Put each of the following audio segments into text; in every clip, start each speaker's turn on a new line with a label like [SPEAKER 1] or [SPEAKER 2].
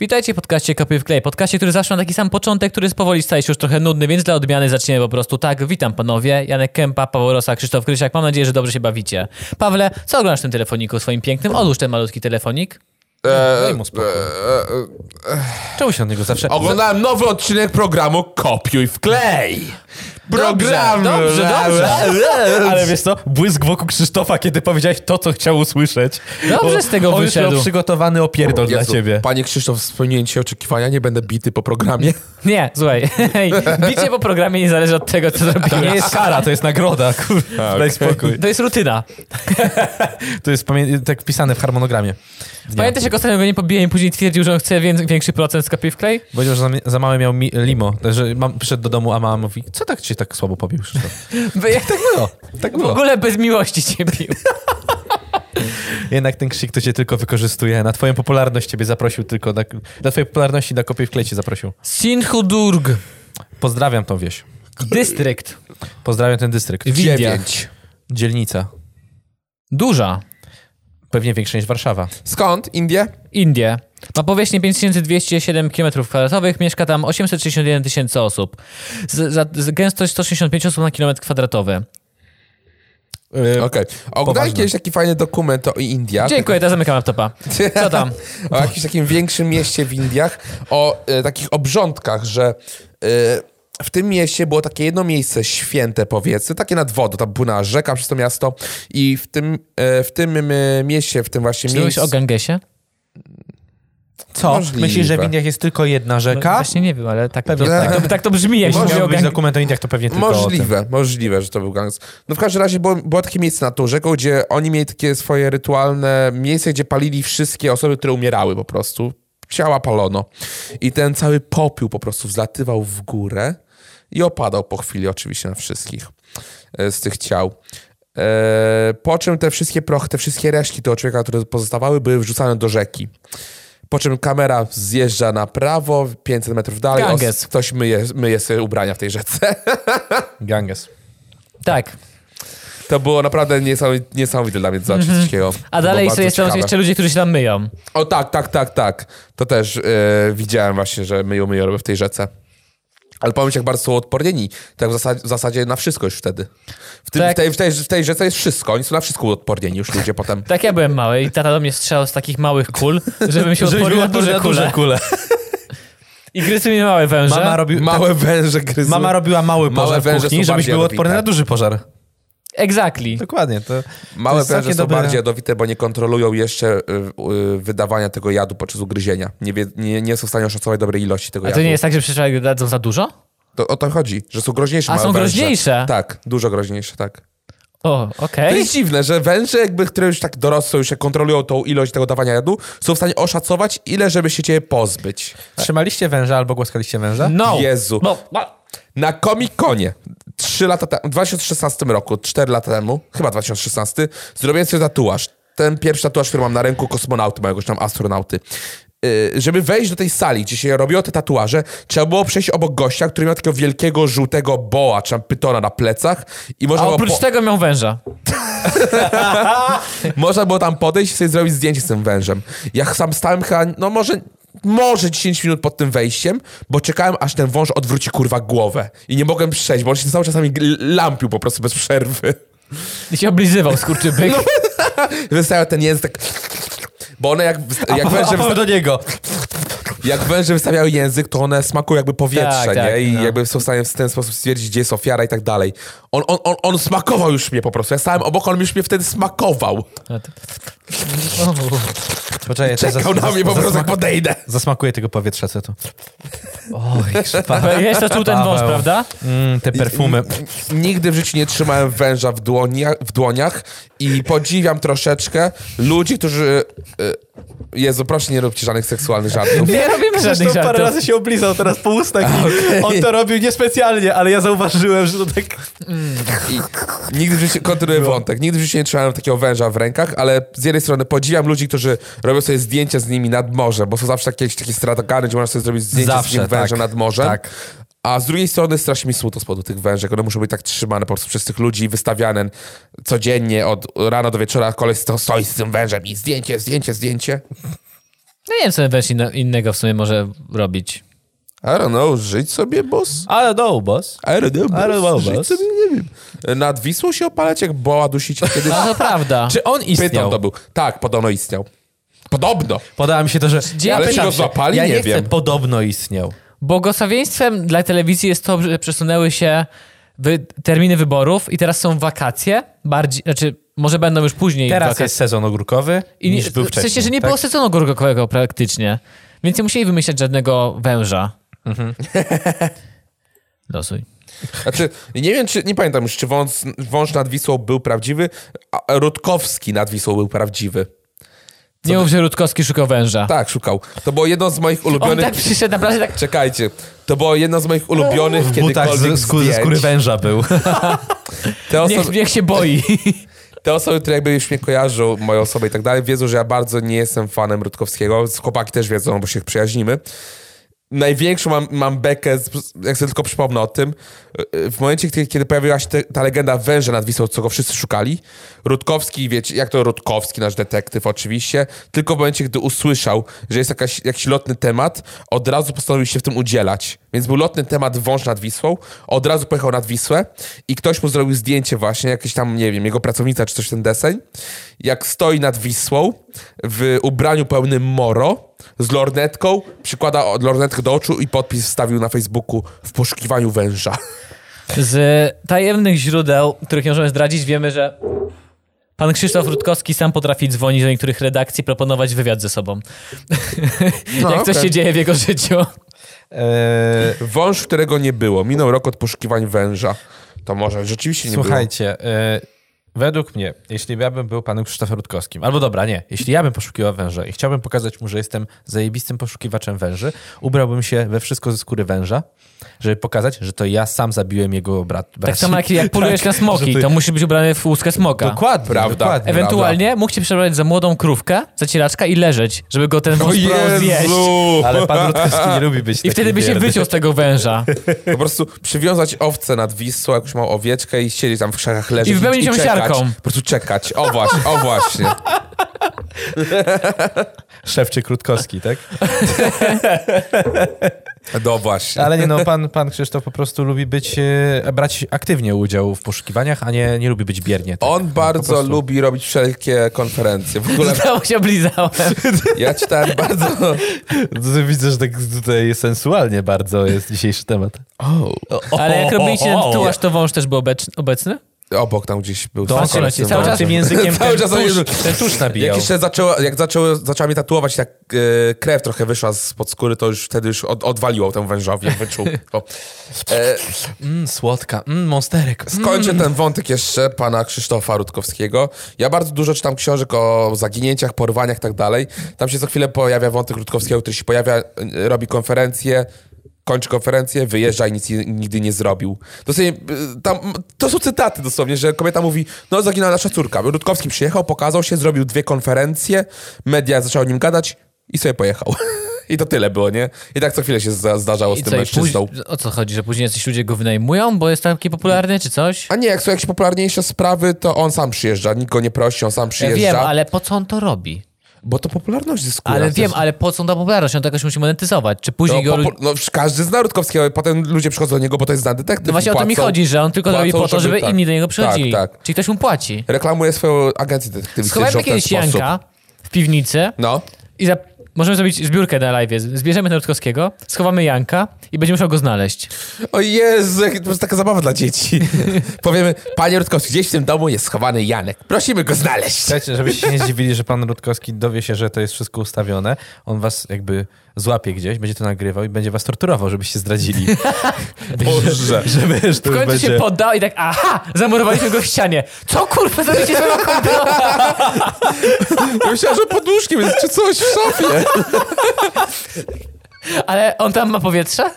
[SPEAKER 1] Witajcie w podcaście Kopy w Klej. Podcaście, który zawsze ma taki sam początek, który z powoli staje się już trochę nudny, więc dla odmiany zaczniemy po prostu tak. Witam panowie, Janek Kępa, Paweł Rosa, Krzysztof Krysiak. Mam nadzieję, że dobrze się bawicie. Pawle, co oglądasz w tym telefoniku swoim pięknym? Odłóż ten malutki telefonik.
[SPEAKER 2] Eee,
[SPEAKER 3] No, mu spokój.
[SPEAKER 2] eee,
[SPEAKER 3] Czemu się od niego zawsze...
[SPEAKER 2] Oglądałem nowy odcinek programu Kopiuj w klej. Program.
[SPEAKER 1] dobrze, dobrze.
[SPEAKER 3] Ale wiesz co, błysk wokół Krzysztofa, kiedy powiedziałeś to, co chciał usłyszeć.
[SPEAKER 1] Dobrze z tego
[SPEAKER 3] on już
[SPEAKER 1] wyszedł.
[SPEAKER 3] miał przygotowany opierdol
[SPEAKER 2] Jezu,
[SPEAKER 3] dla ciebie.
[SPEAKER 2] Panie Krzysztof, spełnienie ci oczekiwania, nie będę bity po programie.
[SPEAKER 1] Nie, słuchaj. Hej, bicie po programie nie zależy od tego, co
[SPEAKER 3] To nie
[SPEAKER 1] zrobiłeś.
[SPEAKER 3] jest kara, to jest nagroda, kurwa, daj spokój.
[SPEAKER 1] To jest rutyna.
[SPEAKER 3] To jest pamię- tak wpisane w harmonogramie.
[SPEAKER 1] Pamiętasz, jak ostatnio go nie pobiłem i później twierdził, że on chce wię- większy procent z Kopy w Klej?
[SPEAKER 3] Powiedział, że za, mi- za małe miał mi- limo, że mam, przyszedł do domu, a mama mówi, co tak cię tak słabo pobił, Krzysztof?
[SPEAKER 1] Bo jak tak
[SPEAKER 3] No, tak
[SPEAKER 1] w
[SPEAKER 3] było.
[SPEAKER 1] ogóle bez miłości cię bił.
[SPEAKER 3] Jednak ten krzyk to cię tylko wykorzystuje. Na twoją popularność ciebie zaprosił tylko, na, na twojej popularności na kopię w klej cię zaprosił.
[SPEAKER 1] Sinhudurg,
[SPEAKER 3] Pozdrawiam tą wieś.
[SPEAKER 1] dystrykt,
[SPEAKER 3] Pozdrawiam ten dystrykt.
[SPEAKER 1] W Indiach.
[SPEAKER 2] Dziewięć.
[SPEAKER 3] Dzielnica.
[SPEAKER 1] duża,
[SPEAKER 3] Pewnie większa niż Warszawa.
[SPEAKER 2] Skąd? Indie?
[SPEAKER 1] Indie. Ma powierzchnię 5207 km2, mieszka tam 861 tysięcy osób. Z, za, z gęstość 165 osób na kilometr kwadratowy.
[SPEAKER 3] Yy,
[SPEAKER 2] Okej. Oglądałem kiedyś taki fajny dokument o Indiach.
[SPEAKER 1] Dziękuję, teraz zamykam laptopa. Co tam?
[SPEAKER 2] O jakimś takim większym mieście w Indiach. O e, takich obrządkach, że e, w tym mieście było takie jedno miejsce święte, powiedzmy, takie nad wodą. Tam płynęła rzeka przez to miasto i w tym, e, w tym e, mieście, w tym właśnie
[SPEAKER 1] Czy mówisz
[SPEAKER 2] miejscu...
[SPEAKER 1] o Gangesie?
[SPEAKER 3] Co?
[SPEAKER 2] Możliwe.
[SPEAKER 3] Myślisz, że w Indiach jest tylko jedna rzeka?
[SPEAKER 1] No, Właśnie nie wiem, ale tak, to,
[SPEAKER 3] Pewnie
[SPEAKER 1] tak,
[SPEAKER 3] tak.
[SPEAKER 1] to, tak to brzmi, jak się
[SPEAKER 3] Jeśli
[SPEAKER 1] mówi o
[SPEAKER 3] miałbyś
[SPEAKER 1] Gangesie.
[SPEAKER 3] dokument o Indiach, to pewnie tylko o tym.
[SPEAKER 2] Możliwe, możliwe, że to był gang. No w każdym razie było, było takie miejsce nad tą rzeką, gdzie oni mieli takie swoje rytualne miejsce, gdzie palili wszystkie osoby, które umierały po prostu. Ciała palono. I ten cały popiół po prostu wzlatywał w górę i opadał po chwili oczywiście na wszystkich e, z tych ciał. E, Po czym te wszystkie prochy, te wszystkie resztki tego człowieka, które pozostawały, były wrzucane do rzeki. Po czym kamera zjeżdża na prawo, 500 metrów dalej.
[SPEAKER 1] Ganges.
[SPEAKER 2] os- Ktoś myje, myje sobie ubrania w tej rzece.
[SPEAKER 3] Ganges.
[SPEAKER 1] Tak.
[SPEAKER 2] To było naprawdę niesamowite, niesamowite dla mnie zobaczyć coś takiego.
[SPEAKER 1] Mhm. A
[SPEAKER 2] To
[SPEAKER 1] dalej
[SPEAKER 2] było
[SPEAKER 1] są
[SPEAKER 2] bardzo
[SPEAKER 1] jeszcze,
[SPEAKER 2] ciekawe.
[SPEAKER 1] jeszcze ludzie, którzy się tam myją.
[SPEAKER 2] O tak, tak, tak, tak. To też e, widziałem właśnie, że myją, myją robią w tej rzece. Ale pomyśl, jak bardzo są odpornieni. Tak w zasadzie, w zasadzie na wszystko już wtedy. W, tym,
[SPEAKER 1] Tak.
[SPEAKER 2] w, tej, w, tej, w tej rzece jest wszystko. Oni są na wszystko odpornieni już ludzie potem.
[SPEAKER 1] Tak ja byłem mały i tata do mnie strzelał z takich małych kul, żebym się
[SPEAKER 3] Żebyś
[SPEAKER 1] odporzył
[SPEAKER 3] była
[SPEAKER 1] na duże kule.
[SPEAKER 3] kule.
[SPEAKER 1] I gryzły mnie małe węże.
[SPEAKER 3] Mama, robi,
[SPEAKER 2] Małe węże gryzły.
[SPEAKER 3] tak, mama robiła mały
[SPEAKER 2] Małe
[SPEAKER 3] pożar
[SPEAKER 2] węże
[SPEAKER 3] w kuchni,
[SPEAKER 2] są
[SPEAKER 3] żebyś
[SPEAKER 2] bardziej
[SPEAKER 3] był
[SPEAKER 2] jadowite.
[SPEAKER 3] odporny na duży pożar.
[SPEAKER 1] Exactly.
[SPEAKER 3] Dokładnie. To, to
[SPEAKER 2] Małe
[SPEAKER 3] jest
[SPEAKER 2] węże
[SPEAKER 3] takie
[SPEAKER 2] są
[SPEAKER 3] dobre-
[SPEAKER 2] bardziej jadowite, bo nie kontrolują jeszcze y, y, wydawania tego jadu podczas ugryzienia. Nie, wie, nie, nie są w stanie oszacować dobrej ilości tego
[SPEAKER 1] A
[SPEAKER 2] jadu.
[SPEAKER 1] to nie jest tak, że przecież dadzą za dużo?
[SPEAKER 2] to, o to chodzi, że są groźniejsze
[SPEAKER 1] A,
[SPEAKER 2] małe
[SPEAKER 1] są
[SPEAKER 2] węże.
[SPEAKER 1] groźniejsze?
[SPEAKER 2] Tak, dużo groźniejsze, tak.
[SPEAKER 1] O,
[SPEAKER 2] To
[SPEAKER 1] okej.
[SPEAKER 2] jest dziwne, że węże, jakby, które już tak dorosłe, już jak kontrolują tą ilość tego dawania jadu, są w stanie oszacować, ile żeby się ciebie pozbyć.
[SPEAKER 3] Trzymaliście węża albo głaskaliście węża?
[SPEAKER 1] No.
[SPEAKER 2] Jezu.
[SPEAKER 1] No. no.
[SPEAKER 2] Na Comic-Conie trzy lata temu, w 2016 roku, 4 lata temu, chyba 2016, zrobiłem sobie tatuaż. Ten pierwszy tatuaż, który mam na ręku, kosmonauty, mają jakoś tam astronauty. Yy, żeby wejść do tej sali, gdzie się robiło te tatuaże, trzeba było przejść obok gościa, który miał takiego wielkiego, żółtego boa, czy tam pytona na plecach i
[SPEAKER 1] A
[SPEAKER 2] można, było,
[SPEAKER 1] oprócz
[SPEAKER 2] po,
[SPEAKER 1] tego miał węża.
[SPEAKER 2] można było tam podejść i sobie zrobić zdjęcie z tym wężem. Ja sam stałem chyba, no może, może 10 minut pod tym wejściem, bo czekałem, aż ten wąż odwróci kurwa głowę i nie mogłem przejść, bo on się cały czas nami gl- lampił po prostu bez przerwy.
[SPEAKER 1] I się oblizywał, skurczybyk.
[SPEAKER 2] Wystawiał ten język tak... Bo one jak,
[SPEAKER 3] Tak,
[SPEAKER 2] jak, węże,
[SPEAKER 3] Paweł do niego.
[SPEAKER 2] jak węże wystawiały język, to one smakują jakby powietrze,
[SPEAKER 1] Tak,
[SPEAKER 2] nie?
[SPEAKER 1] tak,
[SPEAKER 2] I
[SPEAKER 1] no.
[SPEAKER 2] jakby są w stanie w ten sposób stwierdzić, gdzie jest ofiara i tak dalej. On, on, on, on smakował już mnie po prostu. Ja stałem obok, on już mnie wtedy smakował.
[SPEAKER 1] No to- O,
[SPEAKER 3] Poczekaj, ja też
[SPEAKER 2] Czekał
[SPEAKER 3] zas-
[SPEAKER 2] na mnie po
[SPEAKER 3] zas-
[SPEAKER 2] prostu, jak podejdę.
[SPEAKER 3] Zasmakuję tego powietrza, co to. Oj,
[SPEAKER 1] Paweł, Wiesz, to czuł ten wąż,
[SPEAKER 3] Paweł.
[SPEAKER 1] prawda?
[SPEAKER 3] mm, te perfumy.
[SPEAKER 2] Nigdy w życiu nie trzymałem węża w, dłonia, w dłoniach i podziwiam troszeczkę ludzi, którzy... y, Jezu, proszę, nie róbcie żadnych seksualnych żartów.
[SPEAKER 1] Nie
[SPEAKER 3] no
[SPEAKER 1] robimy żadnych
[SPEAKER 3] Zresztą parę
[SPEAKER 1] żartów.
[SPEAKER 3] razy się oblizał teraz po ustach i on to robił niespecjalnie, ale ja zauważyłem, że to tak...
[SPEAKER 2] I nigdy w życiu, kontynuuję wątek, nigdy w życiu nie trzymałem takiego węża w rękach, ale z jednej strony podziwiam ludzi, którzy robią sobie zdjęcia z nimi nad morze, bo są zawsze takie, jakieś takie stratagany, gdzie można sobie zrobić zdjęcie z
[SPEAKER 3] Zawsze,
[SPEAKER 2] nim węża
[SPEAKER 3] tak,
[SPEAKER 2] nad morzem.
[SPEAKER 3] tak.
[SPEAKER 2] A z drugiej strony strasznie mi smutno z powodu tych wężek. One muszą być tak trzymane po prostu przez tych ludzi i wystawiane codziennie od rana do wieczora. Koleś sto- stoi z tym wężem i zdjęcie, zdjęcie, zdjęcie.
[SPEAKER 1] No nie wiem, co weź inno- innego w sumie może robić.
[SPEAKER 2] I don't know, żyć sobie, boss?
[SPEAKER 3] Ale no, boss.
[SPEAKER 2] I don't know, boss.
[SPEAKER 3] don't know,
[SPEAKER 2] Żyć
[SPEAKER 3] boss.
[SPEAKER 2] sobie, nie wiem. Nad Wisłą się opalać, jak boła dusić kiedyś?
[SPEAKER 1] No to prawda.
[SPEAKER 3] Czy on
[SPEAKER 2] Pytam
[SPEAKER 3] istniał?
[SPEAKER 2] to był. Tak, podobno istniał. Podobno.
[SPEAKER 3] Podoba mi się to, że...
[SPEAKER 1] Ja
[SPEAKER 2] Ale
[SPEAKER 1] pytam
[SPEAKER 2] czy go
[SPEAKER 1] się.
[SPEAKER 2] złapali?
[SPEAKER 3] ja
[SPEAKER 2] nie
[SPEAKER 3] nie chcę,
[SPEAKER 2] wiem.
[SPEAKER 3] podobno istniał.
[SPEAKER 1] Błogosławieństwem dla telewizji jest to, że przesunęły się wy, terminy wyborów i teraz są wakacje. Bardziej, znaczy, może będą już później
[SPEAKER 3] Teraz
[SPEAKER 1] wakacje.
[SPEAKER 3] jest sezon ogórkowy
[SPEAKER 1] I nie,
[SPEAKER 3] niż był
[SPEAKER 1] w
[SPEAKER 3] wcześniej.
[SPEAKER 1] sensie, że nie
[SPEAKER 3] tak?
[SPEAKER 1] było sezonu górkowego praktycznie. Więc nie musieli wymyślać żadnego węża.
[SPEAKER 3] Mhm.
[SPEAKER 1] Losuj.
[SPEAKER 2] Znaczy, nie wiem, czy, nie pamiętam już, czy wąż, wąż nad Wisłą był prawdziwy, a Rutkowski nad Wisłą był prawdziwy.
[SPEAKER 1] Nie mów, że Rutkowski szukał węża.
[SPEAKER 2] Tak, szukał. To było jedno z moich
[SPEAKER 1] On
[SPEAKER 2] ulubionych...
[SPEAKER 1] tak przyszedł naprawdę tak...
[SPEAKER 2] Czekajcie, to było jedno z moich ulubionych
[SPEAKER 3] W butach
[SPEAKER 2] kiedykolwiek
[SPEAKER 3] tak, z, z, skóry- z skóry
[SPEAKER 2] zdjęć.
[SPEAKER 3] węża był.
[SPEAKER 2] Te
[SPEAKER 1] Niech,
[SPEAKER 2] osoby,
[SPEAKER 1] niech się boi.
[SPEAKER 2] te osoby, które jakby już mnie kojarzą, moją osobę i tak dalej, wiedzą, że ja bardzo nie jestem fanem Rutkowskiego. Chłopaki też wiedzą, bo się przyjaźnimy. Największą mam, mam bekę, z- jak sobie tylko przypomnę o tym, yy, w momencie, kiedy, kiedy pojawiła się te, ta legenda węża nad Wisłą, co go wszyscy szukali, Rutkowski, wiecie, jak to Rutkowski, nasz detektyw oczywiście, tylko w momencie, gdy usłyszał, że jest jakaś, jakiś lotny temat, od razu postanowił się w tym udzielać. Więc był lotny temat wąż nad Wisłą, od razu pojechał nad Wisłę i ktoś mu zrobił zdjęcie właśnie, jakieś tam, nie wiem, jego pracownica czy coś w ten deseń, jak stoi nad Wisłą w ubraniu pełnym moro, z lornetką, przykłada o- lornetkę do oczu i podpis wstawił na Facebooku w poszukiwaniu węża.
[SPEAKER 1] Z tajemnych źródeł, których nie możemy zdradzić, wiemy, że pan Krzysztof Rutkowski sam potrafi dzwonić do niektórych redakcji, proponować wywiad ze sobą. Jak coś
[SPEAKER 2] okej.
[SPEAKER 1] się dzieje w jego życiu.
[SPEAKER 3] Eee,
[SPEAKER 2] Wąż, którego nie było. Minął rok od poszukiwań węża. To może rzeczywiście nie
[SPEAKER 3] Słuchajcie, e, według mnie, jeśli ja bym był panem Krzysztofem Rutkowskim, albo dobra, nie, jeśli ja bym poszukiwał węża i chciałbym pokazać mu, że jestem zajebistym poszukiwaczem węży, ubrałbym się we wszystko ze skóry węża, żeby pokazać, że to ja sam zabiłem jego brat.
[SPEAKER 1] Tak
[SPEAKER 3] braci.
[SPEAKER 1] samo jak, jak polujesz
[SPEAKER 3] Tak,
[SPEAKER 1] na
[SPEAKER 3] że
[SPEAKER 1] smoki,
[SPEAKER 3] ty-
[SPEAKER 1] to musi być ubrany w łuskę smoka.
[SPEAKER 3] Dokładnie,
[SPEAKER 2] Prawda.
[SPEAKER 3] dokładnie.
[SPEAKER 2] Ewe-
[SPEAKER 1] Ewentualnie mógł się przebrać za młodą krówkę, zacieraczka i leżeć, żeby go ten
[SPEAKER 2] było.
[SPEAKER 1] wąż próbował zjeść.
[SPEAKER 3] Ale pan Rutkowski nie lubi być
[SPEAKER 1] I wtedy by się wyciął z tego węża.
[SPEAKER 2] Po prostu przywiązać owce nad Wisłą, jakąś małą owieczkę i siedzieć tam w krzakach leżeć.
[SPEAKER 1] I wypełnić ją
[SPEAKER 2] czekać.
[SPEAKER 1] siarką.
[SPEAKER 2] Po prostu czekać. O właśnie, o właśnie.
[SPEAKER 3] Szewczyk Rutkowski, tak?
[SPEAKER 2] No właśnie.
[SPEAKER 3] Ale nie, no pan, pan Krzysztof po prostu lubi być, e, brać aktywnie udział w poszukiwaniach, a nie, nie lubi być biernie. Tak?
[SPEAKER 2] On bardzo
[SPEAKER 3] prostu.
[SPEAKER 2] lubi robić wszelkie konferencje. W ogóle
[SPEAKER 1] Znowu się oblizałem.
[SPEAKER 2] ja czytałem bardzo...
[SPEAKER 3] Widzę, że tak tutaj sensualnie bardzo jest dzisiejszy temat.
[SPEAKER 2] Oh.
[SPEAKER 1] Ale jak robiliście ten tatuaż, to wąż też był obecz- obecny?
[SPEAKER 2] Obok tam gdzieś był.
[SPEAKER 1] Patrzcie
[SPEAKER 2] koleś
[SPEAKER 1] na
[SPEAKER 2] z
[SPEAKER 1] ciebie, cały
[SPEAKER 2] tym wążem.
[SPEAKER 1] czas-
[SPEAKER 3] tym językiem
[SPEAKER 2] Cały
[SPEAKER 3] ten,
[SPEAKER 2] czas on
[SPEAKER 3] tusz, ten tusz
[SPEAKER 2] Jak
[SPEAKER 3] nabijał.
[SPEAKER 2] jeszcze zaczęła, jak zaczęło, zaczęła mi tatuować, tak e, krew trochę wyszła spod skóry, to już wtedy już od, odwaliło tę wężowi, jak wyczuł. O. E,
[SPEAKER 3] Mm, słodka, mm, monsterek.
[SPEAKER 2] skończę
[SPEAKER 1] Mm.
[SPEAKER 2] ten wątek jeszcze pana Krzysztofa Rutkowskiego. Ja bardzo dużo czytam książek o zaginięciach, porwaniach i tak dalej. Tam się co chwilę pojawia wątek Rutkowskiego, który się pojawia, e, robi konferencję, kończy konferencję, wyjeżdża i nic nie- nigdy nie zrobił. Dosłownie, e, tam, to są cytaty dosłownie, że kobieta mówi, no zaginęła nasza córka. Rutkowski przyjechał, pokazał się, zrobił dwie konferencje, media zaczęły o nim gadać i sobie pojechał. I to tyle było, nie? I tak co chwilę się zda- zdarzało z tym
[SPEAKER 1] i
[SPEAKER 2] mężczyzną.
[SPEAKER 1] później- o co chodzi, że później jacyś ludzie go wynajmują, bo jest taki popularny czy coś?
[SPEAKER 2] A nie, jak są jakieś popularniejsze sprawy, to on sam przyjeżdża, nikt go nie prosi, on sam
[SPEAKER 1] Ja
[SPEAKER 2] przyjeżdża.
[SPEAKER 1] wiem, ale po co on to robi?
[SPEAKER 2] Bo to popularność zyskuje.
[SPEAKER 1] Ale
[SPEAKER 2] To
[SPEAKER 1] wiem,
[SPEAKER 2] jest-
[SPEAKER 1] ale po co on ta popularność? On to jakoś musi monetyzować. Czy
[SPEAKER 2] No,
[SPEAKER 1] później go...
[SPEAKER 2] popu- no, wsz- każdy zna Rutkowskiego, potem ludzie przychodzą do niego, bo to jest znany detektyw.
[SPEAKER 1] No właśnie
[SPEAKER 2] i
[SPEAKER 1] o to mi
[SPEAKER 2] płacą-
[SPEAKER 1] chodzi, że on tylko to robi
[SPEAKER 2] płacą,
[SPEAKER 1] po to, żeby
[SPEAKER 2] tak,
[SPEAKER 1] inni do niego przychodzili.
[SPEAKER 2] Tak, tak.
[SPEAKER 1] Czyli ktoś mu płaci.
[SPEAKER 2] Reklamuje swoją agencję detektywistyczną
[SPEAKER 1] Schowajmy
[SPEAKER 2] w ten
[SPEAKER 1] kiedyś
[SPEAKER 2] sposób.
[SPEAKER 1] Janka w piwnicy
[SPEAKER 2] No,
[SPEAKER 1] i za... możemy zrobić zbiórkę na live. Zbierzemy Narodkowskiego, schowamy Janka i będziemy musiał go znaleźć.
[SPEAKER 2] o Jezu, jak- to jest taka zabawa dla dzieci. Powiemy, panie Rutkowski, gdzieś w tym domu jest schowany Janek, prosimy go znaleźć.
[SPEAKER 3] Słuchajcie, żebyście się nie zdziwili, że pan Rutkowski dowie się, że to jest wszystko ustawione. On was jakby złapie gdzieś, będzie to nagrywał i będzie was torturował, żebyście zdradzili.
[SPEAKER 2] Boże.
[SPEAKER 3] Żeby, że to
[SPEAKER 1] W
[SPEAKER 3] już
[SPEAKER 1] końcu
[SPEAKER 3] będzie...
[SPEAKER 1] się poddał i tak, aha, zamurowaliśmy go w ścianie. Co kurwa zrobicie z moją kobietą?
[SPEAKER 2] Ja myślałem, że pod łóżkiem jest czy coś w szafie.
[SPEAKER 1] Ale on tam ma powietrze?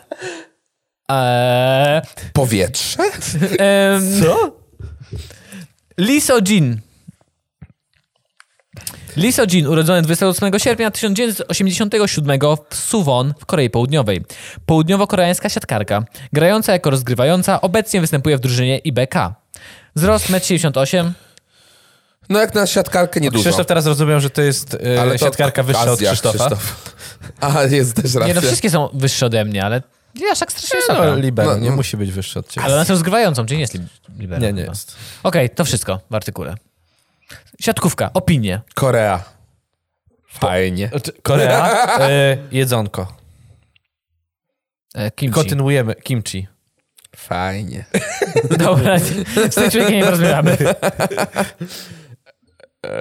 [SPEAKER 1] Eee,
[SPEAKER 2] Powietrze?
[SPEAKER 1] em,
[SPEAKER 3] Co?
[SPEAKER 1] Lisogin. Lisogin, urodzony 28 sierpnia 1987 w Suwon w Korei Południowej. Południowo-koreańska siatkarka, grająca jako rozgrywająca, obecnie występuje w drużynie IBK. Wzrost 1,78 m,
[SPEAKER 2] No jak na siatkarkę niedużo.
[SPEAKER 3] Krzysztof teraz rozumiem, że to jest e,
[SPEAKER 2] Ale to
[SPEAKER 3] siatkarka wyższa
[SPEAKER 2] okazja,
[SPEAKER 3] od Krzysztofa.
[SPEAKER 2] Krzysztof. A, jest też racja.
[SPEAKER 1] Nie, no wszystkie są wyższe ode mnie, ale nie aż tak strasznie
[SPEAKER 3] Nie,
[SPEAKER 1] wysoka.
[SPEAKER 3] No, libero,
[SPEAKER 2] No,
[SPEAKER 3] nie
[SPEAKER 2] no.
[SPEAKER 3] musi być wyższy od ciebie.
[SPEAKER 1] Ale ona jest rozgrywającą, czyli nie jest lib- liberem.
[SPEAKER 3] Nie, nie
[SPEAKER 1] chyba.
[SPEAKER 3] jest.
[SPEAKER 1] Okej, to wszystko w artykule. Siatkówka, opinie.
[SPEAKER 2] Korea. Fajnie.
[SPEAKER 3] Znaczy, Korea, e, jedzonko.
[SPEAKER 1] E, kimchi.
[SPEAKER 3] Kontynuujemy. Kimchi.
[SPEAKER 2] Fajnie.
[SPEAKER 1] Dobra, z tym człowiekiem nie rozmawiamy.
[SPEAKER 2] E,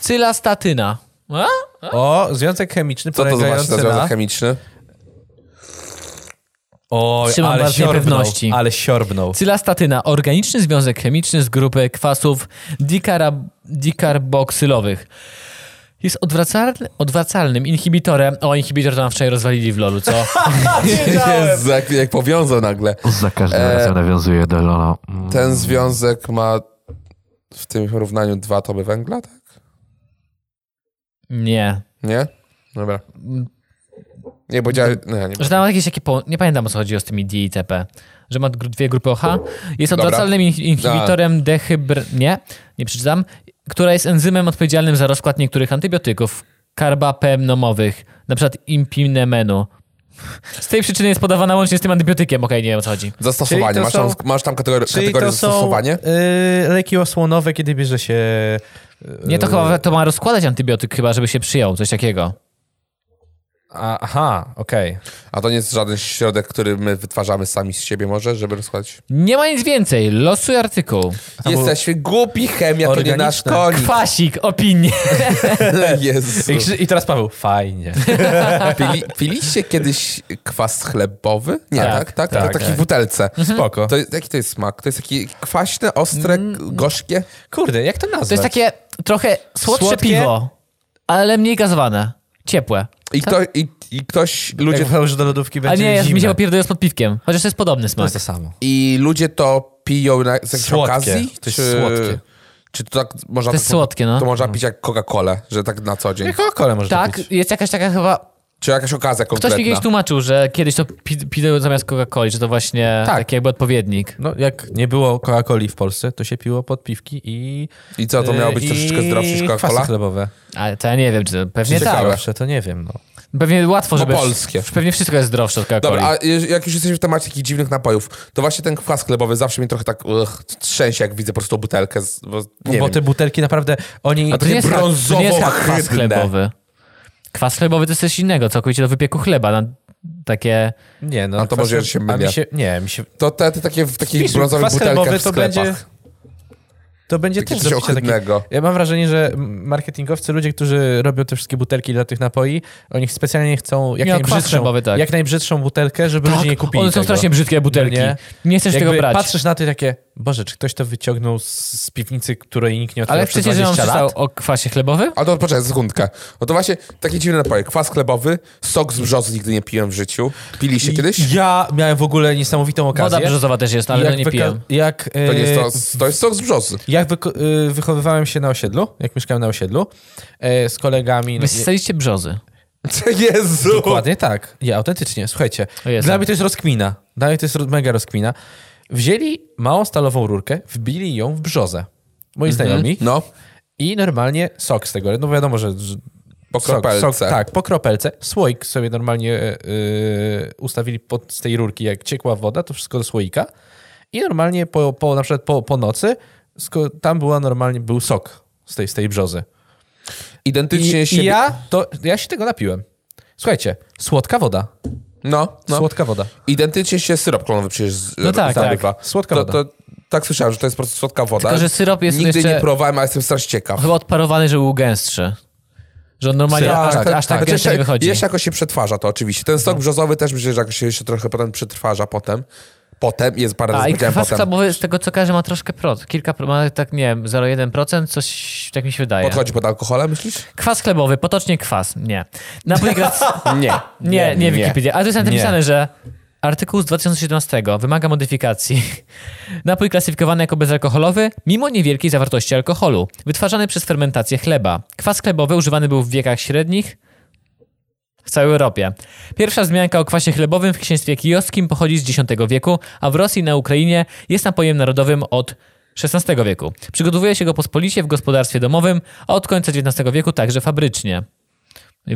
[SPEAKER 1] Cylastatyna. A?
[SPEAKER 3] O, związek chemiczny
[SPEAKER 2] Co to za
[SPEAKER 3] polegający
[SPEAKER 2] właśnie za
[SPEAKER 3] na...
[SPEAKER 2] związek chemiczny?
[SPEAKER 3] Oj,
[SPEAKER 1] Trzymam
[SPEAKER 3] ale
[SPEAKER 1] was w niepewności.
[SPEAKER 3] Ale siorbnął.
[SPEAKER 1] Cylastatyna. Organiczny związek chemiczny z grupy kwasów dikara, dikarboksylowych. Jest odwracalny, odwracalnym inhibitorem. O, inhibitor to nam wczoraj rozwalili w lolu, co?
[SPEAKER 2] Jezu, jak, jak powiązał nagle.
[SPEAKER 4] Za każdym razem nawiązuje do Lola. Mm.
[SPEAKER 2] Ten związek ma w tym porównaniu dwa toby węgla, tak?
[SPEAKER 1] Nie.
[SPEAKER 2] Nie? Dobra. Nie, bo dział... Nie, nie.
[SPEAKER 1] Że tam jakieś takie... Po... Nie pamiętam, o co chodziło z tymi D i TP. Że ma gru- dwie grupy OH. Jest
[SPEAKER 2] Dobra.
[SPEAKER 1] odwracalnym in- inhibitorem dehybr... Nie, nie przeczytam. Która jest enzymem odpowiedzialnym za rozkład niektórych antybiotyków karbapemnomowych, na przykład impinemenu. Z tej przyczyny jest podawana łącznie z tym antybiotykiem. Okej, nie wiem, o co chodzi.
[SPEAKER 2] Zastosowanie.
[SPEAKER 3] Czyli to
[SPEAKER 2] Masz tam,
[SPEAKER 3] są-
[SPEAKER 2] masz tam kategorię,
[SPEAKER 3] Czyli
[SPEAKER 2] kategorię
[SPEAKER 3] to są
[SPEAKER 2] zastosowanie?
[SPEAKER 3] y, leki osłonowe, kiedy bierze się... y,
[SPEAKER 1] Nie, to chyba to ma rozkładać antybiotyk chyba, żeby się przyjął, coś takiego.
[SPEAKER 3] A, aha, okej.
[SPEAKER 2] A to nie jest żaden środek, który my wytwarzamy sami z siebie może, żeby rozkładać?
[SPEAKER 1] Nie ma nic więcej. Losuj artykuł.
[SPEAKER 2] Jesteśmy głupi, chemia to nie
[SPEAKER 3] Organiczne.
[SPEAKER 2] nasz konik.
[SPEAKER 1] Kwasik, opinie.
[SPEAKER 2] Jezu.
[SPEAKER 3] I, Krzy- I teraz Paweł, fajnie.
[SPEAKER 2] Pili, piliście kiedyś kwas chlebowy? Nie, tak,
[SPEAKER 1] Tak,
[SPEAKER 2] tak? tak,
[SPEAKER 3] tak,
[SPEAKER 2] to taki
[SPEAKER 3] tak.
[SPEAKER 2] w butelce.
[SPEAKER 3] Spoko.
[SPEAKER 2] To, jaki to jest smak? To jest taki kwaśne, ostre,
[SPEAKER 3] Mm.
[SPEAKER 2] gorzkie?
[SPEAKER 3] Kurde, jak to nazwać?
[SPEAKER 1] To jest takie trochę słodsze
[SPEAKER 3] Słodkie?
[SPEAKER 1] piwo, ale mniej gazowane. Ciepłe.
[SPEAKER 2] I, kto, i, i ktoś,
[SPEAKER 3] Ludzie
[SPEAKER 2] ludzie,
[SPEAKER 3] Tak. jak wchodzą do lodówki
[SPEAKER 1] A
[SPEAKER 3] będzie
[SPEAKER 1] nie, ja
[SPEAKER 3] zimne.
[SPEAKER 1] mi się popierdolę z podpiwkiem. Chociaż to jest podobny
[SPEAKER 3] To
[SPEAKER 1] smak.
[SPEAKER 3] jest to samo.
[SPEAKER 2] i ludzie to piją na, z jakiejś
[SPEAKER 3] Słodkie.
[SPEAKER 2] okazji?
[SPEAKER 3] To jest słodkie.
[SPEAKER 2] Czy to tak można...
[SPEAKER 1] To jest
[SPEAKER 2] tak-
[SPEAKER 1] słodkie, no.
[SPEAKER 2] To można pić jak Coca-Colę, że tak na co dzień.
[SPEAKER 3] Jak Coca-Colę można
[SPEAKER 1] Tak,
[SPEAKER 3] pić.
[SPEAKER 1] jest jakaś taka chyba...
[SPEAKER 2] Czy jakaś okazja
[SPEAKER 1] Ktoś
[SPEAKER 2] konkretna.
[SPEAKER 1] mi kiedyś tłumaczył, że kiedyś to pi- piło zamiast Coca-Coli, że to właśnie
[SPEAKER 3] Tak.
[SPEAKER 1] taki jakby odpowiednik.
[SPEAKER 3] No, jak nie było Coca-Coli w Polsce, to się piło pod piwki i...
[SPEAKER 2] I co, No to miało być
[SPEAKER 3] Yy, i
[SPEAKER 2] troszeczkę zdrowsze niż
[SPEAKER 3] kwasy
[SPEAKER 2] Coca-Cola?
[SPEAKER 3] chlebowe.
[SPEAKER 1] Ale to ja nie wiem, czy to pewnie
[SPEAKER 3] Nie
[SPEAKER 1] tak.
[SPEAKER 2] Ciekawe.
[SPEAKER 3] zdrowsze, to nie wiem, no.
[SPEAKER 1] Pewnie łatwo, żeby...
[SPEAKER 2] polskie.
[SPEAKER 1] Pewnie wszystko jest zdrowsze od Coca-Coli.
[SPEAKER 2] Dobra, a je- jak już jesteśmy w temacie takich dziwnych napojów, to właśnie ten kwas chlebowy zawsze mnie trochę tak ugh, trzęsie, jak widzę po prostu tą butelkę. Z, bo, nie
[SPEAKER 3] No Bo
[SPEAKER 2] wiem.
[SPEAKER 3] te butelki naprawdę, oni...
[SPEAKER 1] A to nie jest, tak-
[SPEAKER 2] Takie
[SPEAKER 1] to nie jest
[SPEAKER 2] brązowo
[SPEAKER 1] kwas
[SPEAKER 2] ohydne.
[SPEAKER 1] chlebowy. Kwas chlebowy to jest coś innego, całkowicie do wypieku chleba. Na takie...
[SPEAKER 3] Nie, no.
[SPEAKER 2] A to
[SPEAKER 3] kwas-
[SPEAKER 2] może się
[SPEAKER 3] a
[SPEAKER 2] mylę.
[SPEAKER 3] mi się, Nie, mi się...
[SPEAKER 2] To te, te takie w takich
[SPEAKER 3] Wiesz,
[SPEAKER 2] brązowych
[SPEAKER 3] kwas
[SPEAKER 2] butelkach
[SPEAKER 3] chlebowy
[SPEAKER 2] w
[SPEAKER 3] to
[SPEAKER 2] sklepach.
[SPEAKER 3] będzie- To będzie
[SPEAKER 2] Takie
[SPEAKER 3] też
[SPEAKER 2] coś
[SPEAKER 3] do picia taki...
[SPEAKER 2] ohydnego.
[SPEAKER 3] Ja mam wrażenie, że marketingowcy, ludzie, którzy robią te wszystkie butelki dla tych napoi, oni specjalnie chcą jak,
[SPEAKER 1] Nie, no, kwas
[SPEAKER 3] najbrzydszą,
[SPEAKER 1] chlebowy, tak.
[SPEAKER 3] jak najbrzydszą butelkę, żeby ludzie nie kupili
[SPEAKER 1] one są
[SPEAKER 3] tego.
[SPEAKER 1] strasznie brzydkie butelki.
[SPEAKER 3] No
[SPEAKER 1] Nie,
[SPEAKER 3] nie?
[SPEAKER 1] chcesz
[SPEAKER 3] Jakby
[SPEAKER 1] tego brać.
[SPEAKER 3] patrzysz na to i takie, Boże, czy ktoś to wyciągnął z, z piwnicy, której nikt nie otworzył
[SPEAKER 1] Ale przecież ja mam
[SPEAKER 3] 20
[SPEAKER 1] czytał
[SPEAKER 3] lat?
[SPEAKER 1] o kwasie chlebowym?
[SPEAKER 2] A to poczekaj, sekundkę. No to właśnie takie dziwne napoje. Kwas chlebowy, sok z brzozy nigdy nie piłem w życiu. Piliście kiedyś?
[SPEAKER 3] Ja miałem w ogóle niesamowitą okazję.
[SPEAKER 1] Woda brzozowa też jest, ale
[SPEAKER 3] jak
[SPEAKER 1] no nie
[SPEAKER 3] wyka-
[SPEAKER 1] piję.
[SPEAKER 3] Jak,
[SPEAKER 2] To, nie
[SPEAKER 3] e,
[SPEAKER 2] jest to, to jest sok z brzozy.
[SPEAKER 3] Jak wyko- y, wychowywałem się na osiedlu, jak mieszkałem na osiedlu, e, z kolegami...
[SPEAKER 1] Wy ssaliście brzozy.
[SPEAKER 2] Jezu!
[SPEAKER 3] Dokładnie tak. Nie, autentycznie. Słuchajcie,
[SPEAKER 1] O Jezu.
[SPEAKER 3] dla mnie to jest rozkmina. Dla mnie to jest ro- mega rozkmina. Wzięli małą stalową rurkę, wbili ją w brzozę. Moi
[SPEAKER 1] Mhm.
[SPEAKER 3] znajomi.
[SPEAKER 2] No,
[SPEAKER 3] I normalnie sok z tego. No wiadomo, że... że
[SPEAKER 2] po
[SPEAKER 3] Sok,
[SPEAKER 2] kropelce.
[SPEAKER 3] sok, tak, po kropelce. Słoik sobie normalnie y, ustawili pod z tej rurki, jak ciekła woda, to wszystko do słoika. I normalnie po, po na przykład po, po nocy sko- tam była normalnie, był sok z tej, z tej brzozy.
[SPEAKER 2] Identycznie
[SPEAKER 3] I,
[SPEAKER 2] się...
[SPEAKER 3] i ja, to, ja się tego napiłem. Słuchajcie, słodka woda.
[SPEAKER 2] No, no.
[SPEAKER 3] Słodka woda.
[SPEAKER 2] Identycznie się syrop klonowy przecież z,
[SPEAKER 1] No tak,
[SPEAKER 2] zabywa.
[SPEAKER 3] Słodka
[SPEAKER 2] To,
[SPEAKER 3] woda.
[SPEAKER 2] to, tak słyszałem, że to jest po prostu słodka woda.
[SPEAKER 1] Tylko, że syrop jest
[SPEAKER 2] Nigdy
[SPEAKER 1] jeszcze-
[SPEAKER 2] nie próbowałem, ale jestem strasznie ciekaw.
[SPEAKER 1] Chyba odparowany, że był gęstszy. Że on normalnie
[SPEAKER 2] Tak,
[SPEAKER 1] aż,
[SPEAKER 2] tak,
[SPEAKER 1] aż tak
[SPEAKER 2] Znaczy,
[SPEAKER 1] gęsto nie
[SPEAKER 2] jeszcze-
[SPEAKER 1] wychodzi. No.
[SPEAKER 2] Jeszcze jakoś się przetwarza to oczywiście. Ten stok brzozowy też myślę, że jakoś się jeszcze trochę potem przetwarza potem. Potem, jest parę
[SPEAKER 1] A
[SPEAKER 2] razy
[SPEAKER 1] i
[SPEAKER 2] widziałem
[SPEAKER 1] kwas
[SPEAKER 2] potem.
[SPEAKER 1] chlebowy z tego co każe ma troszkę prot. Kilka, pro- ma tak nie wiem, 0,1%, coś tak mi się wydaje.
[SPEAKER 2] Podchodzi pod alkoholem, myślisz?
[SPEAKER 1] Kwas chlebowy, potocznie kwas, nie. Napój gras...
[SPEAKER 2] Nie.
[SPEAKER 1] Nie, nie Wikipedia. Ale to jest napisane,
[SPEAKER 3] Nie.
[SPEAKER 1] że artykuł z 2017 wymaga modyfikacji. Napój klasyfikowany jako bezalkoholowy, mimo niewielkiej zawartości alkoholu, wytwarzany przez fermentację chleba. Kwas chlebowy używany był w wiekach średnich w całej Europie. Pierwsza wzmianka o kwasie chlebowym w księstwie kijowskim pochodzi z X wieku, a w Rosji i na Ukrainie jest napojem narodowym od XVI wieku. Przygotowuje się go pospolicie w gospodarstwie domowym, a od końca XIX wieku także fabrycznie.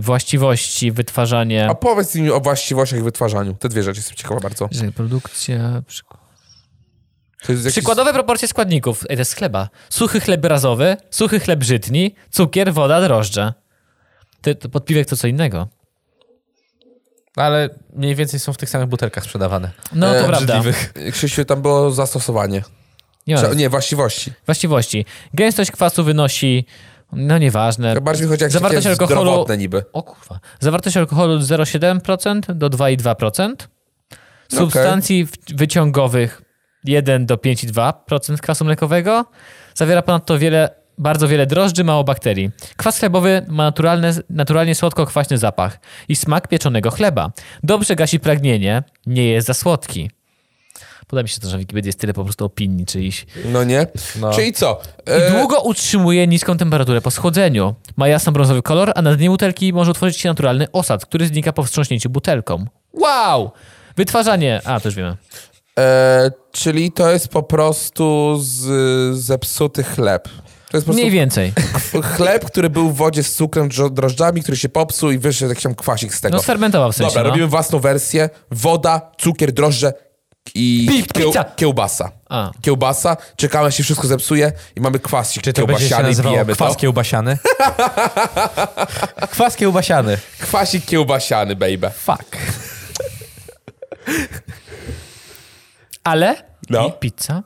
[SPEAKER 1] Właściwości, wytwarzanie,
[SPEAKER 2] A powiedz mi o właściwościach i wytwarzaniu. Te dwie rzeczy jestem ciekawa bardzo.
[SPEAKER 1] że produkcja... Przy...
[SPEAKER 2] To jest jakiś-
[SPEAKER 1] Przykładowe proporcje składników. Ej, to jest chleba. Suchy chleb razowy, suchy chleb żytni, cukier, woda, drożdże. Ty, to podpiwek to co innego.
[SPEAKER 3] No, Ale mniej więcej są w tych samych butelkach sprzedawane.
[SPEAKER 1] No to
[SPEAKER 2] E,
[SPEAKER 1] prawda.
[SPEAKER 3] Brzydliwych.
[SPEAKER 2] Krzysiu, tam było zastosowanie.
[SPEAKER 1] Nie ma
[SPEAKER 2] Prze- nie, właściwości.
[SPEAKER 1] właściwości. Gęstość kwasu wynosi, no nieważne.
[SPEAKER 2] Bardziej mi chodzi jak
[SPEAKER 1] Zawartość
[SPEAKER 2] takie
[SPEAKER 1] alkoholu-
[SPEAKER 2] zdrowotne niby.
[SPEAKER 1] O kurwa. Zawartość alkoholu od 0,7% do 2,2%.
[SPEAKER 2] No
[SPEAKER 1] Substancji w- wyciągowych 1 do 5,2% kwasu mlekowego. Zawiera ponadto wiele, bardzo wiele drożdży, mało bakterii. Kwas chlebowy ma naturalne, naturalnie słodko-kwaśny zapach i smak pieczonego chleba. Dobrze gasi pragnienie, nie jest za słodki. Podoba mi się to, że w Wikipedii jest tyle po prostu opinii czyjś.
[SPEAKER 2] No nie?
[SPEAKER 3] No.
[SPEAKER 2] Czyli co?
[SPEAKER 1] I
[SPEAKER 2] E,
[SPEAKER 1] długo utrzymuje niską temperaturę po schłodzeniu. Ma jasno-brązowy kolor, a na dnie butelki może utworzyć się naturalny osad, który znika po wstrząśnięciu butelką. Wow! Wytwarzanie... A, to już wiemy.
[SPEAKER 2] e, czyli to jest po prostu z, zepsuty chleb. To jest po prostu
[SPEAKER 1] Mniej więcej. No,
[SPEAKER 2] chleb, który był w wodzie z cukrem, drzo- drożdżami, który się popsuł i wyszedł jakiś tam kwasik z tego.
[SPEAKER 1] No sfermentował w sensie,
[SPEAKER 2] Dobra,
[SPEAKER 1] no.
[SPEAKER 2] robimy własną wersję. Woda, cukier, drożdże i
[SPEAKER 1] Pi- pizza.
[SPEAKER 2] kiełbasa.
[SPEAKER 1] A.
[SPEAKER 2] Kiełbasa. Czekamy, aż się wszystko zepsuje i mamy kwasik
[SPEAKER 3] Czy to będzie się
[SPEAKER 2] kiełbasiany i
[SPEAKER 3] nazywało
[SPEAKER 2] pijemy
[SPEAKER 3] kwas
[SPEAKER 2] to.
[SPEAKER 3] kiełbasiany? kwas kiełbasiany.
[SPEAKER 2] Kwasik kiełbasiany, baby.
[SPEAKER 3] Fuck.
[SPEAKER 1] Ale...
[SPEAKER 2] No.
[SPEAKER 1] I pizza.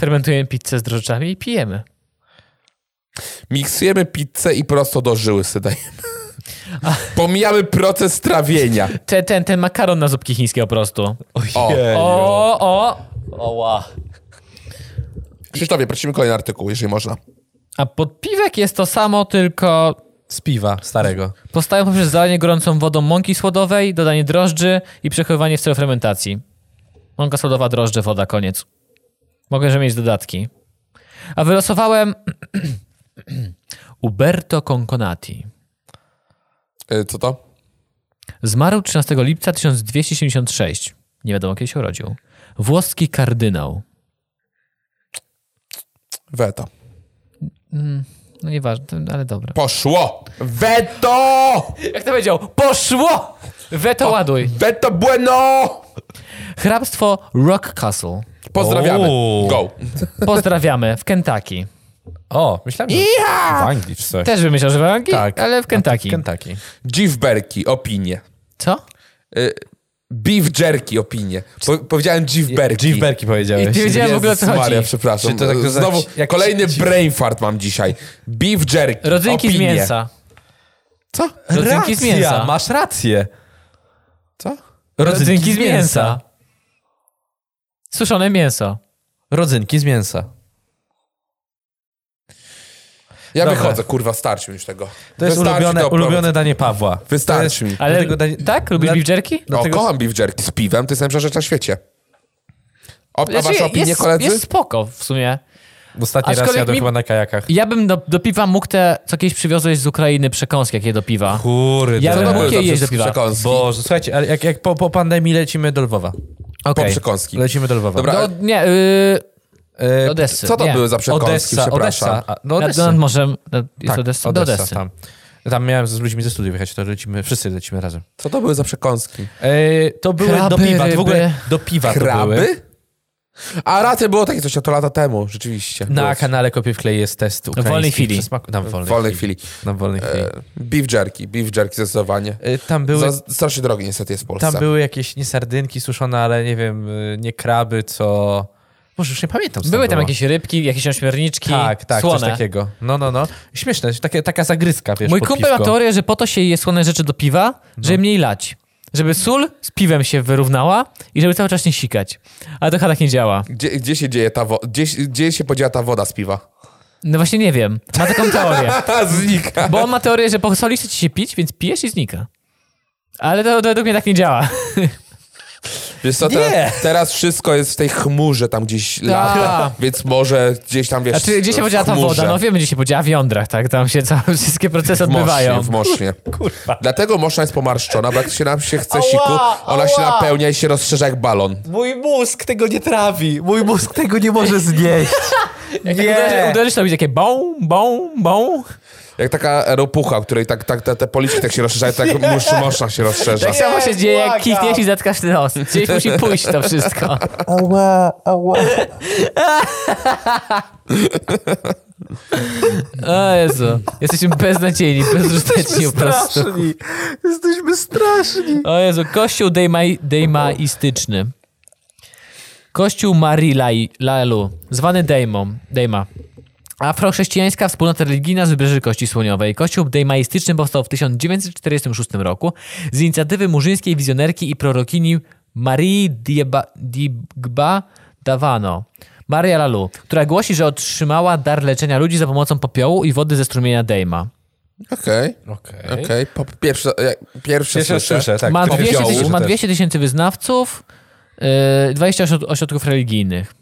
[SPEAKER 1] Fermentujemy pizzę z drożdżami i pijemy.
[SPEAKER 2] Miksujemy pizzę i prosto do żyły sydajemy. Pomijamy proces trawienia.
[SPEAKER 1] Ten, ten, ten makaron na zupki chińskie po prostu.
[SPEAKER 2] Ojeju.
[SPEAKER 1] O, o, oła.
[SPEAKER 2] Krzysztofie, prosimy kolejny artykuł, jeżeli można.
[SPEAKER 1] A podpiwek jest to samo, tylko
[SPEAKER 3] Z piwa starego.
[SPEAKER 1] Powstają poprzez zalanie gorącą wodą mąki słodowej, dodanie drożdży i przechowywanie w celu fermentacji. Mąka słodowa, drożdże, woda, koniec. Mogę, że mieć dodatki. A wylosowałem Uberto Conconati.
[SPEAKER 2] E, Co to?
[SPEAKER 1] Zmarł 13 lipca 1276. Nie wiadomo, kiedy się urodził. Włoski kardynał.
[SPEAKER 2] Weto.
[SPEAKER 1] No nieważne, to- ale dobra.
[SPEAKER 2] Poszło! Weto!
[SPEAKER 1] Jak to powiedział? Poszło! Weto ładuj.
[SPEAKER 2] Weto bueno!
[SPEAKER 1] Hrabstwo Rock Castle.
[SPEAKER 2] Pozdrawiamy.
[SPEAKER 3] Uuu.
[SPEAKER 2] Go.
[SPEAKER 1] Pozdrawiamy w Kentucky.
[SPEAKER 3] O, myślałem, że w Anglii czy coś.
[SPEAKER 1] Też bym myślał, że w Anglii,
[SPEAKER 3] Tak.
[SPEAKER 1] ale No w Kentucky.
[SPEAKER 3] Kentucky.
[SPEAKER 2] Dziwberki, opinie.
[SPEAKER 1] Co?
[SPEAKER 2] Beef jerky, opinie. Po, powiedziałem dziwberki.
[SPEAKER 3] Jeff Berki powiedziałeś.
[SPEAKER 1] I ty wiedziałem w ogóle o co
[SPEAKER 2] Jezus
[SPEAKER 1] chodzi.
[SPEAKER 2] Maria, przepraszam.
[SPEAKER 3] Czy to tak nazywa-
[SPEAKER 2] Znowu
[SPEAKER 3] jak-
[SPEAKER 2] kolejny
[SPEAKER 3] ci-
[SPEAKER 2] brain fart mam dzisiaj. Beef jerky,
[SPEAKER 1] Rodzynki
[SPEAKER 2] opinie.
[SPEAKER 1] z mięsa.
[SPEAKER 2] Co?
[SPEAKER 1] Rodzynki z mięsa.
[SPEAKER 3] Masz rację.
[SPEAKER 2] Co?
[SPEAKER 1] Rodzynki z mięsa. Suszone mięso.
[SPEAKER 3] Rodzynki z mięsa.
[SPEAKER 2] Ja
[SPEAKER 3] Dobra.
[SPEAKER 2] wychodzę, kurwa, starczy mi już tego.
[SPEAKER 3] To jest
[SPEAKER 2] Wystarczy
[SPEAKER 3] ulubione,
[SPEAKER 2] to oprowadz-
[SPEAKER 3] ulubione danie Pawła.
[SPEAKER 2] Wystarczy
[SPEAKER 3] To jest-
[SPEAKER 2] mi.
[SPEAKER 1] Ale
[SPEAKER 3] dlatego danie-
[SPEAKER 1] tak? Lubisz
[SPEAKER 3] dla-
[SPEAKER 1] beef jerky?
[SPEAKER 2] O,
[SPEAKER 3] dlatego-
[SPEAKER 2] kocham beef jerky z piwem, to jest najlepsza rzecz na świecie. O, a
[SPEAKER 1] Znaczy,
[SPEAKER 2] wasze opinie,
[SPEAKER 1] jest,
[SPEAKER 2] koledzy?
[SPEAKER 1] jest spoko w sumie.
[SPEAKER 3] Ostatni raz
[SPEAKER 1] Aczkolwiek
[SPEAKER 3] jadłem
[SPEAKER 1] mi-
[SPEAKER 3] chyba na kajakach.
[SPEAKER 1] Ja bym do, do piwa mógł te, co kiedyś przywiozłeś z Ukrainy, przekąski jakie do piwa.
[SPEAKER 3] Kurde.
[SPEAKER 1] Ja bym
[SPEAKER 2] To były
[SPEAKER 1] mógł je
[SPEAKER 2] zawsze
[SPEAKER 1] jeść do piwa.
[SPEAKER 2] przekąski.
[SPEAKER 3] Boże, słuchajcie, ale jak, jak po, po pandemii lecimy do Lwowa.
[SPEAKER 2] Po
[SPEAKER 1] Okej.
[SPEAKER 2] przekąski.
[SPEAKER 3] Lecimy do Lwowa.
[SPEAKER 2] Dobra,
[SPEAKER 1] Do, nie, yy,
[SPEAKER 3] E,
[SPEAKER 1] Odessy.
[SPEAKER 2] Co to
[SPEAKER 1] nie.
[SPEAKER 2] były za przekąski,
[SPEAKER 3] Odessa,
[SPEAKER 2] przepraszam?
[SPEAKER 3] Odessa. A, No
[SPEAKER 1] Nad,
[SPEAKER 3] Odessa.
[SPEAKER 1] nad morzem. Nad, jest
[SPEAKER 3] Tak,
[SPEAKER 1] Odessa? Do Odessy.
[SPEAKER 3] Tam. tam miałem z ludźmi ze studiów jechać, to lecimy, wszyscy lecimy razem.
[SPEAKER 2] Co to były za przekąski?
[SPEAKER 3] E, to były do
[SPEAKER 1] Kraby,
[SPEAKER 3] piwa, w ogóle
[SPEAKER 1] ryby.
[SPEAKER 3] do piwa to były.
[SPEAKER 2] Kraby? A racja, było takie coś, a to lata temu, rzeczywiście.
[SPEAKER 3] Na
[SPEAKER 2] Było.
[SPEAKER 3] kanale Kopie w Klej jest test ukraiński.
[SPEAKER 1] wolnej chwili.
[SPEAKER 3] przysmaku- Na wolnej,
[SPEAKER 2] W wolnej chwili.
[SPEAKER 3] Na wolnej chwili.
[SPEAKER 2] E, Beef jerky, beef jerky zdecydowanie.
[SPEAKER 3] E, tam były...
[SPEAKER 2] Były... Za, strasznie drogi niestety jest w Polsce.
[SPEAKER 3] Tam były jakieś nie sardynki suszone, ale nie wiem, y, nie kraby, co. Może już nie pamiętam. co
[SPEAKER 1] Były tam
[SPEAKER 3] było.
[SPEAKER 1] jakieś rybki, jakieś ośmiorniczki,
[SPEAKER 3] Tak, tak,
[SPEAKER 1] słone.
[SPEAKER 3] coś takiego. No, no, no. Śmieszne, takie, taka zagryzka, wiesz,
[SPEAKER 1] Mój
[SPEAKER 3] pod
[SPEAKER 1] kumpel ma
[SPEAKER 3] piwko. No.
[SPEAKER 1] teorię, że po to się je słone rzeczy do piwa, żeby mniej lać. Żeby sól z piwem się wyrównała i żeby cały czas nie sikać. Ale to chyba tak nie działa.
[SPEAKER 2] Gdzie, gdzie się dzieje ta woda? Gdzie, gdzie się podziała ta woda z piwa?
[SPEAKER 1] No właśnie nie wiem. Ma taką teorię.
[SPEAKER 2] A, znika.
[SPEAKER 1] Bo on ma teorię, że po soli chce ci się pić, więc pijesz i znika. Ale to, to według mnie tak nie działa.
[SPEAKER 2] Wiesz co,
[SPEAKER 3] Nie.
[SPEAKER 2] teraz, teraz wszystko jest w tej chmurze tam gdzieś lata, więc może gdzieś tam, wiesz,
[SPEAKER 1] Znaczy, gdzie się
[SPEAKER 2] w
[SPEAKER 1] podziała ta
[SPEAKER 2] chmurze.
[SPEAKER 1] woda? No wiemy, gdzie się podziała w jądrach, tak? Tam się całe, wszystkie procesy
[SPEAKER 2] W mosznie,
[SPEAKER 1] odbywają.
[SPEAKER 2] w mosznie. Dlatego moszna jest pomarszczona, bo jak się nam się chce siku, ona się napełnia i się rozszerza jak balon.
[SPEAKER 3] Mój mózg tego nie trawi. Mój mózg tego nie może znieść.
[SPEAKER 1] Jak tak uderzy- uderzysz, to będzie takie bą, bą, bą.
[SPEAKER 2] Jak taka ropucha, której tak, tak, te, te policzki tak się rozszerzają, tak musz, mosza się rozszerza.
[SPEAKER 1] Tak samo się dzieje, jak
[SPEAKER 3] błagam.
[SPEAKER 1] kichniesz i zatkasz ten nos. Gdzieś musi pójść to wszystko.
[SPEAKER 3] Ała, ała.
[SPEAKER 1] O Jezu. Jesteśmy beznadziejni, bezużyteczni po prostu.
[SPEAKER 3] Straszni. Jesteśmy straszni.
[SPEAKER 1] O Jezu, kościół dejmai, dejmaistyczny. Kościół Marii Lai- Laelu, zwany Dejmą, Dejma. Afrochrześcijańska wspólnota religijna z Wybrzeży Kości Słoniowej. Kościół dejmaistyczny powstał w 1946 roku z inicjatywy murzyńskiej wizjonerki i prorokini Marii Dieba- Digba Davano. Maria Lalu, która głosi, że otrzymała dar leczenia ludzi za pomocą popiołu i wody ze strumienia Dejma. Tak.
[SPEAKER 2] Okej,
[SPEAKER 3] Okej.
[SPEAKER 2] okej. Po- Pierwsze, ja- pierwsze
[SPEAKER 3] Pierwsze słyszę, tak.
[SPEAKER 1] ma,
[SPEAKER 3] to
[SPEAKER 1] 200
[SPEAKER 2] popiołu.
[SPEAKER 1] tysięcy, ma
[SPEAKER 3] też.
[SPEAKER 1] 200 tysięcy wyznawców, yy, 20 ośrod- ośrodków religijnych.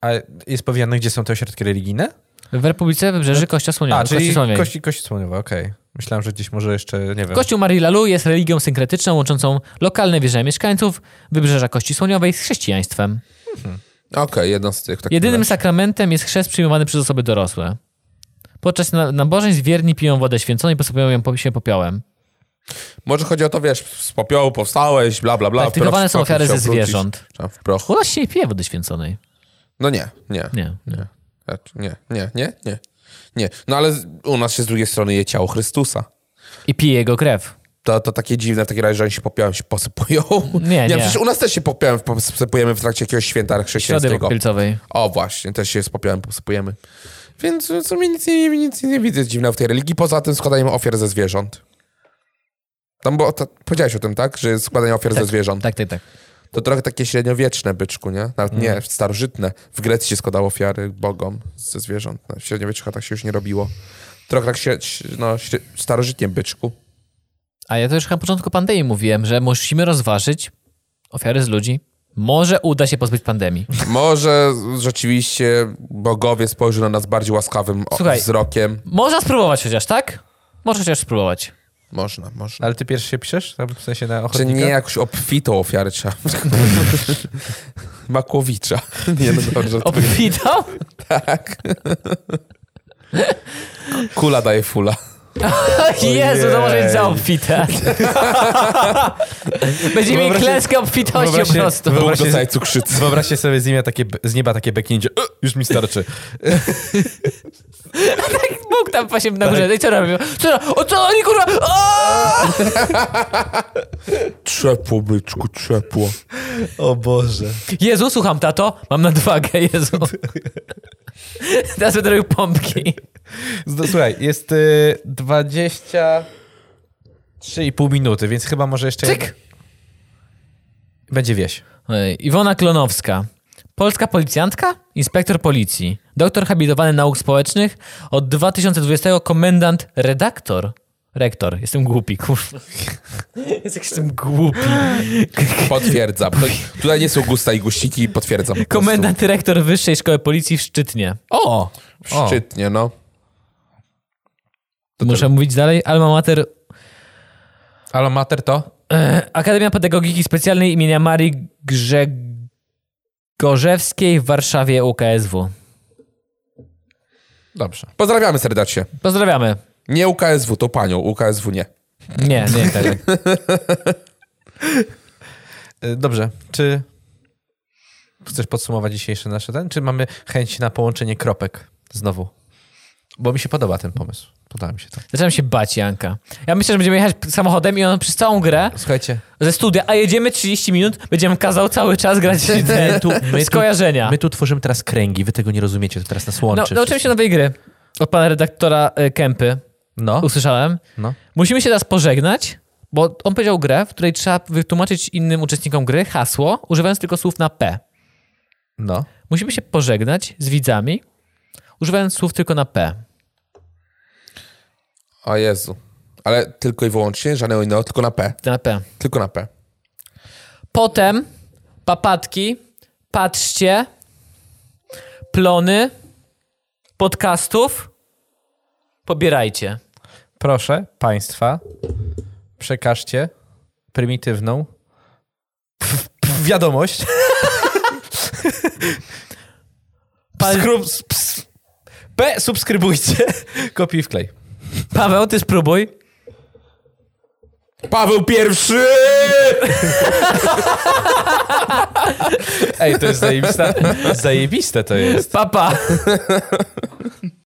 [SPEAKER 3] A jest powiedziane, gdzie są te ośrodki religijne?
[SPEAKER 1] W Republice Wybrzeży Kościa Słoniowa.
[SPEAKER 3] No. A, czyli
[SPEAKER 1] no, Kości Słoniowej.
[SPEAKER 3] kości, kości słoniowe, okej. Myślałem, że gdzieś może jeszcze, nie wiem.
[SPEAKER 1] Kościół Marii Lalu jest religią synkretyczną łączącą lokalne wierzenia mieszkańców Wybrzeża Kości Słoniowej z chrześcijaństwem.
[SPEAKER 2] Okej, jedno z tych. Tak
[SPEAKER 1] Jedynym sakramentem jest chrzest przyjmowany przez osoby dorosłe. Podczas na- nabożeństw wierni piją wodę święconą i posypują ją po- się popiołem.
[SPEAKER 2] Może chodzi o to, wiesz, z popiołu powstałeś, bla, bla, bla.
[SPEAKER 1] Aktywowane
[SPEAKER 2] proch
[SPEAKER 1] Tak,
[SPEAKER 2] w
[SPEAKER 1] są
[SPEAKER 2] prochu
[SPEAKER 1] ofiary
[SPEAKER 2] się
[SPEAKER 1] ze
[SPEAKER 2] obrócić.
[SPEAKER 1] zwierząt.
[SPEAKER 2] Trzeba w prochu.
[SPEAKER 1] U nas się nie pije wody święconej.
[SPEAKER 2] No nie, nie.
[SPEAKER 1] Nie. nie.
[SPEAKER 2] Znaczy, Nie, nie, nie, nie. Nie. No ale z- u nas się z drugiej strony je ciało Chrystusa.
[SPEAKER 1] I pije jego krew.
[SPEAKER 2] To, to takie dziwne w takim razie, że oni się popiałem, się posypują.
[SPEAKER 1] Nie, nie.
[SPEAKER 2] Przecież u nas też się popiałem, posypujemy w trakcie jakiegoś święta
[SPEAKER 1] Środy
[SPEAKER 2] chrześcijańskiego.
[SPEAKER 1] popielcowej.
[SPEAKER 2] O właśnie, też się z popiałem posypujemy. Więc no, w sumie nic nie, nic nie widzę dziwnego w tej religii, poza tym składaniem ofiar ze zwierząt. Tam bo to, powiedziałeś o tym, tak? Że jest składanie ofiar ze zwierząt.
[SPEAKER 1] Tak, tak, tak.
[SPEAKER 2] To trochę takie średniowieczne, byczku, nie? Nawet
[SPEAKER 1] Mm.
[SPEAKER 2] nie, starożytne. W Grecji się składało ofiary bogom ze zwierząt. No, W średniowiecznych tak się już nie robiło. Trochę tak się, no, śre- starożytnie, byczku.
[SPEAKER 1] A ja to już na początku pandemii mówiłem, że musimy rozważyć ofiary z ludzi. Może uda się pozbyć pandemii.
[SPEAKER 2] Może rzeczywiście bogowie spojrzą na nas bardziej łaskawym o-
[SPEAKER 1] Słuchaj.
[SPEAKER 2] wzrokiem.
[SPEAKER 1] Można spróbować chociaż, tak? Może chociaż spróbować.
[SPEAKER 2] Można, można.
[SPEAKER 3] Ale ty pierwszy się piszesz? Tam w sensie na
[SPEAKER 2] Czy
[SPEAKER 3] ochotnika?
[SPEAKER 2] nie jakąś obfitą ofiarę trzeba? Makłowicza. Nie, no dobrze. To
[SPEAKER 1] Obfitał?
[SPEAKER 2] tak. Kula daje fula.
[SPEAKER 1] Jezu, to może być za obfite. Będziemy mieli
[SPEAKER 3] Wyobraźcie-
[SPEAKER 1] klęskę obfitości po
[SPEAKER 3] wyobraźcie-
[SPEAKER 1] prostu.
[SPEAKER 3] wyobraźcie-
[SPEAKER 2] Bóg
[SPEAKER 3] Wyobraźcie-
[SPEAKER 2] dostaje cukrzycy.
[SPEAKER 3] Wyobraźcie sobie z nieba takie, z nieba takie beknięcie. "E, Już mi starczy.
[SPEAKER 1] Tak, Bóg tam właśnie na
[SPEAKER 3] Tak.
[SPEAKER 1] górze. No I co robią? Co robią? O co oni kurwa? O!
[SPEAKER 2] Trzepło, byczku, trzepło.
[SPEAKER 3] O Boże.
[SPEAKER 1] Jezu, słucham tato. Mam nadwagę, Jezu. Teraz będę robił pompki.
[SPEAKER 3] Słuchaj, jest y, 23,5 minuty, więc chyba może jeszcze...
[SPEAKER 1] Cyk!
[SPEAKER 3] Będzie wieś.
[SPEAKER 1] Ej, Iwona Klonowska. Polska policjantka? Inspektor policji. Doktor habilitowany nauk społecznych. Od 2020 komendant redaktor. Rektor. Jestem głupi, kurwa. Jest jak jestem głupi.
[SPEAKER 2] Potwierdzam. To- Tutaj nie są gusta i guściki, potwierdzam. po prostu.
[SPEAKER 1] Komendant rektor Wyższej Szkoły Policji w Szczytnie. O!
[SPEAKER 3] O.
[SPEAKER 2] Szczytnie, no.
[SPEAKER 1] Muszę mówić dalej. Alma mater
[SPEAKER 3] Alo, mater to?
[SPEAKER 1] Akademia Pedagogiki Specjalnej imienia Marii Grzegorzewskiej w Warszawie UKSW.
[SPEAKER 3] Dobrze.
[SPEAKER 2] Pozdrawiamy serdecznie.
[SPEAKER 1] Pozdrawiamy.
[SPEAKER 2] Nie UKSW, to panią, UKSW nie.
[SPEAKER 1] Nie, nie tak.
[SPEAKER 3] Y, Dobrze. Czy chcesz podsumować dzisiejszy nasz ten? Czy mamy chęć na połączenie kropek znowu? Bo mi się podoba ten pomysł. Podoba mi się to.
[SPEAKER 1] Zacząłem się bać Janka. Ja myślę, że będziemy jechać samochodem i on przez całą grę
[SPEAKER 3] Słuchajcie,
[SPEAKER 1] ze studia, a jedziemy 30 minut, będziemy kazał cały czas grać
[SPEAKER 3] My tu- my tu-
[SPEAKER 1] skojarzenia.
[SPEAKER 3] my tu tworzymy teraz kręgi, wy tego nie rozumiecie, to teraz nas
[SPEAKER 1] No,
[SPEAKER 3] łączy.
[SPEAKER 1] nauczyłem się nowej gry od pana redaktora y, Kępy.
[SPEAKER 3] No,
[SPEAKER 1] Usłyszałem.
[SPEAKER 3] no.
[SPEAKER 1] Musimy się teraz pożegnać, bo on powiedział grę, w której trzeba wytłumaczyć innym uczestnikom gry hasło, używając tylko słów na P.
[SPEAKER 3] No.
[SPEAKER 1] Musimy się pożegnać z widzami, używając słów tylko na P.
[SPEAKER 2] O Jezu. Ale tylko i wyłącznie, żadnego innego, tylko na P.
[SPEAKER 1] Na P.
[SPEAKER 2] Tylko na P.
[SPEAKER 1] Potem papatki, patrzcie, plony, podcastów, pobierajcie.
[SPEAKER 3] Proszę państwa, przekażcie prymitywną pf- pf- wiadomość.
[SPEAKER 1] Pal-
[SPEAKER 3] Skrup, s- ps- P, subskrybujcie. Kopiuj w klej.
[SPEAKER 1] Paweł, ty spróbuj.
[SPEAKER 2] Paweł pierwszy!
[SPEAKER 3] Ej, to jest zajebiste. Zajebiste to jest.
[SPEAKER 1] Papa.